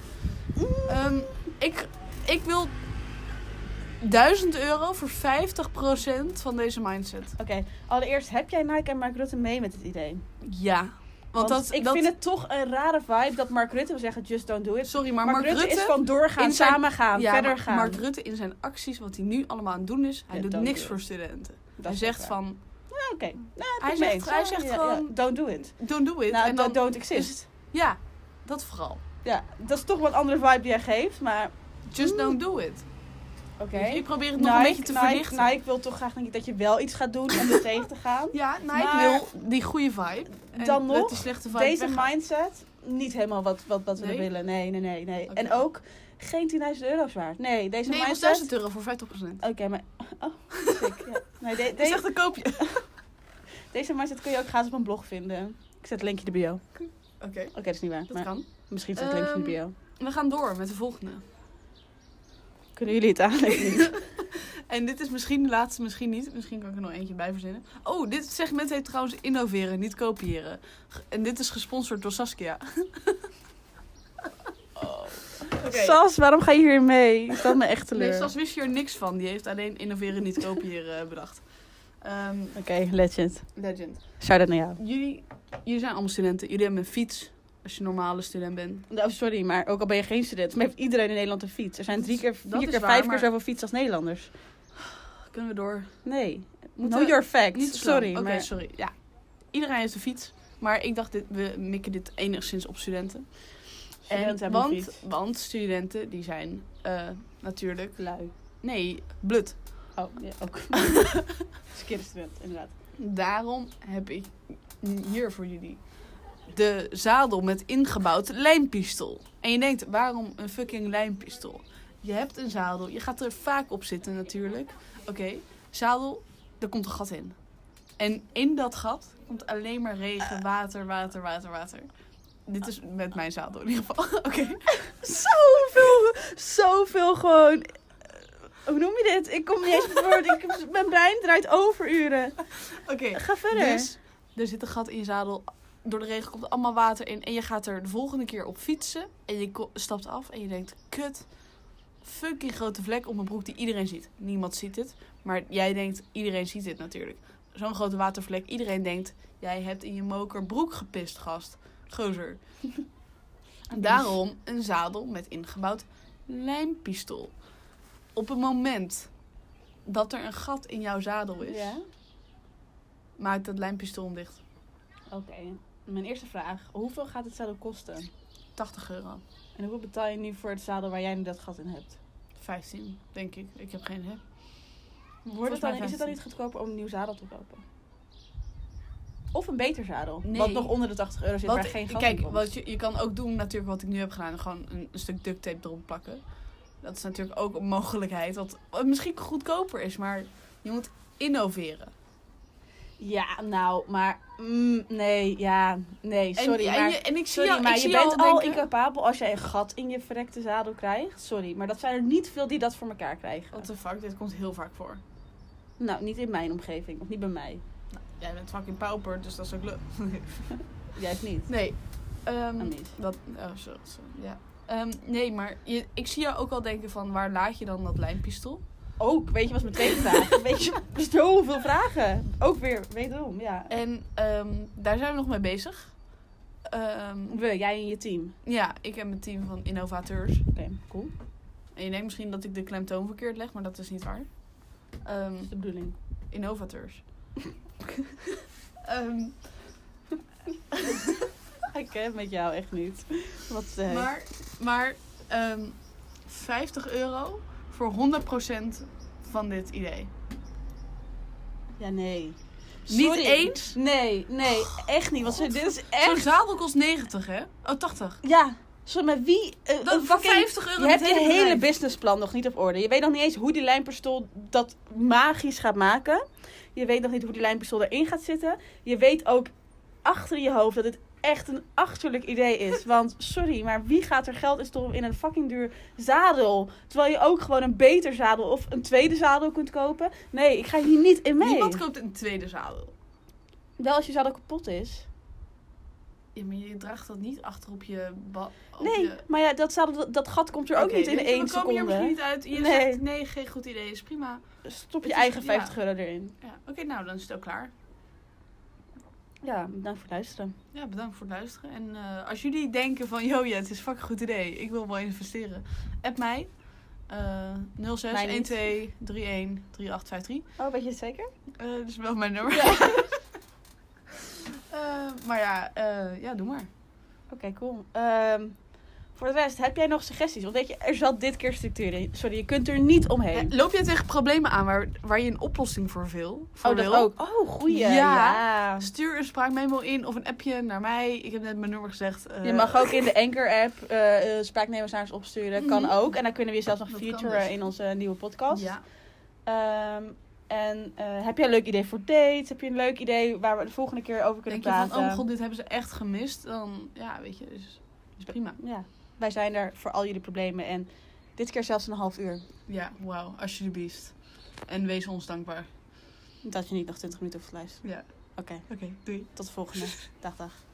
B: Ehm, ik, ik wil 1000 euro voor 50% van deze mindset.
H: Oké, allereerst heb jij Nike en Mark Rutte mee met het idee?
B: Ja. Want,
H: Want,
B: dat,
H: ik
B: dat,
H: vind het toch een rare vibe dat Mark Rutte wil zeggen, just don't do it.
B: Sorry, maar
H: Mark, Rutte, is van doorgaan,
B: in zijn-
H: samen gaan,
B: Ja,
H: verder
B: maar
H: gaan.
B: Mark Rutte in zijn acties, wat hij nu allemaal aan het doen is, hij
H: Ja,
B: doet
H: don't
B: niks
H: do
B: voor studenten.
H: Dat
B: hij
H: is
B: zegt
H: waar.
B: van,
H: Ja, Oké, Nou,
B: Hij
H: ik
B: zegt-
H: weet het.
B: hij
H: Ja,
B: zegt
H: ja,
B: gewoon-
H: ja, don't do it.
B: don't do it.
H: Nou,
B: en
H: don't-
B: dan,
H: don't exist.
B: ja, dat vooral.
H: Ja, dat is toch wel een andere vibe die jij geeft, maar...
B: Just don't do it.
H: Oké.
B: Dus ik probeer het nog
H: Nike,
B: een beetje te
H: Nike,
B: verlichten.
H: Nike wil toch graag denk ik, dat je wel iets gaat doen om er tegen te gaan.
B: Ja, Nike
H: Maar-
B: wil die goede vibe. En
H: Dan
B: dat
H: nog,
B: die slechte vibe
H: Deze
B: weggaat.
H: mindset, niet helemaal wat, wat, wat we
B: Nee?
H: willen. Nee, nee, nee. nee.
B: Oké.
H: En ook geen 10.000 euro waard. Nee, deze
B: Nee, het was
H: mindset...
B: 1000 euro voor 50%.
H: Oké, maar... Oh, sick, ja. Nee, de-
B: Dat is
H: de-
B: echt een koopje. Oké.
H: Deze mindset kun je ook gratis op mijn blog vinden. Ik zet het linkje in de bio. Oké, dat is niet waar.
B: Dat
H: maar
B: kan. Ehm,
H: misschien zet ik het linkje in de bio.
B: We gaan door met de volgende.
H: Kunnen jullie het aanleggen?
B: En dit is misschien de laatste, misschien niet. Misschien kan ik er nog eentje bij verzinnen. Oh, dit segment heet trouwens innoveren, niet kopiëren. G- En dit is gesponsord door Saskia.
H: Sas, waarom ga je hier mee? Ik stel me echt teleur.
B: Nee, Sas wist hier niks van. Die heeft alleen innoveren, niet kopiëren eh, bedacht. Ehm,
H: Oké, legend.
B: Legend.
H: Shout out naar jou.
B: Jullie, jullie zijn allemaal studenten. Jullie hebben een fiets. Als je normale student bent.
H: Nou, sorry, maar ook al ben je geen student, maar heeft iedereen in Nederland een fiets. Er zijn drie keer,
B: dat
H: vier
B: is
H: keer,
B: waar,
H: vijf
B: maar-
H: keer zoveel fiets als Nederlanders.
B: Kunnen we door?
H: Nee.
B: Moeten
H: know
B: we-
H: your facts.
B: Niet te
H: sorry,
B: lang. Oké,
H: maar...
B: sorry. Ja. Iedereen heeft een fiets. Maar ik dacht, dit, we mikken dit enigszins op studenten.
H: Studenten
B: en,
H: hebben een
B: want,
H: fiets.
B: want studenten, die zijn eh, natuurlijk...
H: Lui.
B: Nee, blut.
H: Oh, ja, ook. Skip student, inderdaad.
B: Daarom heb ik hier voor jullie de zadel met ingebouwd lijmpistool. En je denkt, waarom een fucking lijmpistool? Je hebt een zadel, je gaat er vaak op zitten natuurlijk. Oké, zadel, er komt een gat in. En in dat gat komt alleen maar regen, water, water, water, water. Dit is met mijn zadel in ieder geval. Oké.
H: Zoveel, zoveel gewoon. eh, Hoe noem je dit? Ik kom niet eens op het woord. Ik, mijn brein draait overuren.
B: Oké.
H: Ga verder.
B: Dus er zit een gat in je zadel. Door de regen komt er allemaal water in. En je gaat er de volgende keer op fietsen. En je ko- stapt af en je denkt: kut. Fucking grote vlek op mijn broek die iedereen ziet. Niemand ziet het. Maar jij denkt: iedereen ziet dit natuurlijk. Zo'n grote watervlek. Iedereen denkt: jij hebt in je moker broek gepist, gast. Gozer. Daarom een zadel met ingebouwd lijmpistool. Op het moment dat er een gat in jouw zadel is,
H: Ja,
B: maakt dat lijmpistool dicht.
H: oké. Mijn eerste vraag. Hoeveel gaat het zadel kosten?
B: 80 euro.
H: En hoeveel betaal je nu voor het zadel waar jij nu dat gat in hebt?
B: 15, denk ik. Ik heb geen idee.
H: Wordt het dan,
B: mij
H: is het
B: 15.
H: dan niet goedkoper om een nieuw zadel te kopen? Of een beter zadel?
B: Nee.
H: Wat nog onder de 80 euro zit, waar geen gat in
B: kijk,
H: komt.
B: wat je, je kan ook doen natuurlijk wat ik nu heb gedaan. Gewoon een, een stuk duct tape erop plakken. Dat is natuurlijk ook een mogelijkheid. Wat wat misschien goedkoper is, maar je moet innoveren.
H: Ja, nou, maar... mm, nee, ja, nee,
B: En-
H: sorry.
B: en,
H: maar,
B: je- en ik zie
H: sorry,
B: jou,
H: maar
B: ik
H: je
B: zie jou
H: bent al
B: denken-
H: incapabel als jij een gat in je verrekte zadel krijgt. Sorry, maar dat zijn er niet veel die dat voor elkaar krijgen.
B: What the fuck, dit komt heel vaak voor.
H: Nou, niet in mijn omgeving, of niet bij mij.
B: Jij bent fucking pauper, dus dat is ook leuk.
H: Jij hebt niet.
B: Nee. ehm,
H: Nou, niet.
B: dat, oh, sorry, sorry, ja. Ehm, nee, maar je, ik zie jou ook al denken van waar laat je dan dat lijmpistool?
H: Ook, weet je, was mijn tweede vraag. Weet je, zoveel vragen. Ook weer, wederom, ja.
B: En ehm, daar zijn we nog mee bezig. Ehm,
H: We, jij en je team.
B: ja, ik heb een team van innovateurs.
H: Oké, cool.
B: En je denkt misschien dat ik de klemtoon verkeerd leg, maar dat is niet waar. Ehm,
H: Dat is de bedoeling.
B: innovateurs. Ehm,
H: Ik ken met jou echt niet. Wat eh,
B: maar maar ehm, 50 euro voor 100% van dit idee.
H: Ja, nee.
B: Niet eens?
H: Nee, nee, echt niet. Want ze- dit is
B: Zo'n
H: echt...
B: zadel kost 90, hè? Oh, 80.
H: Ja, sorry, maar wie... eh,
B: Dat,
H: een
B: voor
H: fucking-
B: 50 euro
H: Je hebt
B: het
H: je
B: hele
H: hele
B: bedrijf.
H: businessplan nog niet op orde. Je weet nog niet eens hoe die lijmpistool dat magisch gaat maken. Je weet nog niet hoe die lijmpistool erin gaat zitten. Je weet ook achter je hoofd dat het echt een achterlijk idee is. Want sorry, maar wie gaat er geld in stoppen in een fucking duur zadel? Terwijl je ook gewoon een beter zadel of een tweede zadel kunt kopen. Nee, ik ga hier niet in mee.
B: Niemand koopt een tweede zadel.
H: Wel als je zadel kapot is.
B: Ja, maar je draagt dat niet achter op je... ba- op
H: Nee,
B: je-
H: maar ja, dat, zadel, dat- dat gat komt er ook
B: Oké,
H: niet in
B: weet je,
H: één
B: we komen hier misschien
H: seconde.
B: niet uit. Je
H: Nee.
B: zegt nee, geen goed idee, is prima.
H: Stop je
B: Het is-
H: eigen
B: ja.
H: 50 euro erin.
B: Ja, Oké, nou dan is het ook klaar.
H: Ja, bedankt voor het luisteren.
B: Ja, bedankt voor het luisteren. En eh, als jullie denken van, joh ja, het is fucking goed idee, ik wil wel investeren. App mij. eh 06
H: Mij niet.
B: 12 31 3853.
H: Oh, weet je het zeker?
B: Eh, dat is wel mijn nummer. Eh, maar ja, eh, ja, doe maar.
H: Oké, cool. Ehm, voor de rest, heb jij nog suggesties? Want weet je, er zat dit keer structuur in. Sorry, je kunt er niet omheen.
B: Eh, loop jij tegen problemen aan waar, waar je een oplossing voor wil? Voor
H: oh, dat
B: wil?
H: ook. Oh, goeie.
B: Ja.
H: Ja.
B: Stuur een spraakmemo in of een appje naar mij. Ik heb net mijn nummer gezegd. eh,
H: Je mag ook in de Anchor-app eh eh, spraaknemers naar ons opsturen.
B: Mhm.
H: Kan ook. En dan kunnen we je zelfs nog
B: Dat kan
H: featuren
B: dus.
H: in onze nieuwe podcast.
B: Ja.
H: Ehm, en eh, heb jij een leuk idee voor dates? Heb je een leuk idee waar we de volgende keer over kunnen
B: Denk je van,
H: praten?
B: oh mijn god, dit hebben ze echt gemist. Dan, ja, weet je, is, is prima.
H: Ja. Wij zijn er voor al jullie problemen. En dit keer zelfs een half uur.
B: Ja, wauw, alsjeblieft. En wees ons dankbaar.
H: Dat je niet nog 20 minuten hoeft te luisteren.
B: Ja.
H: Oké,
B: Oké, doei.
H: tot de volgende. dag, dag.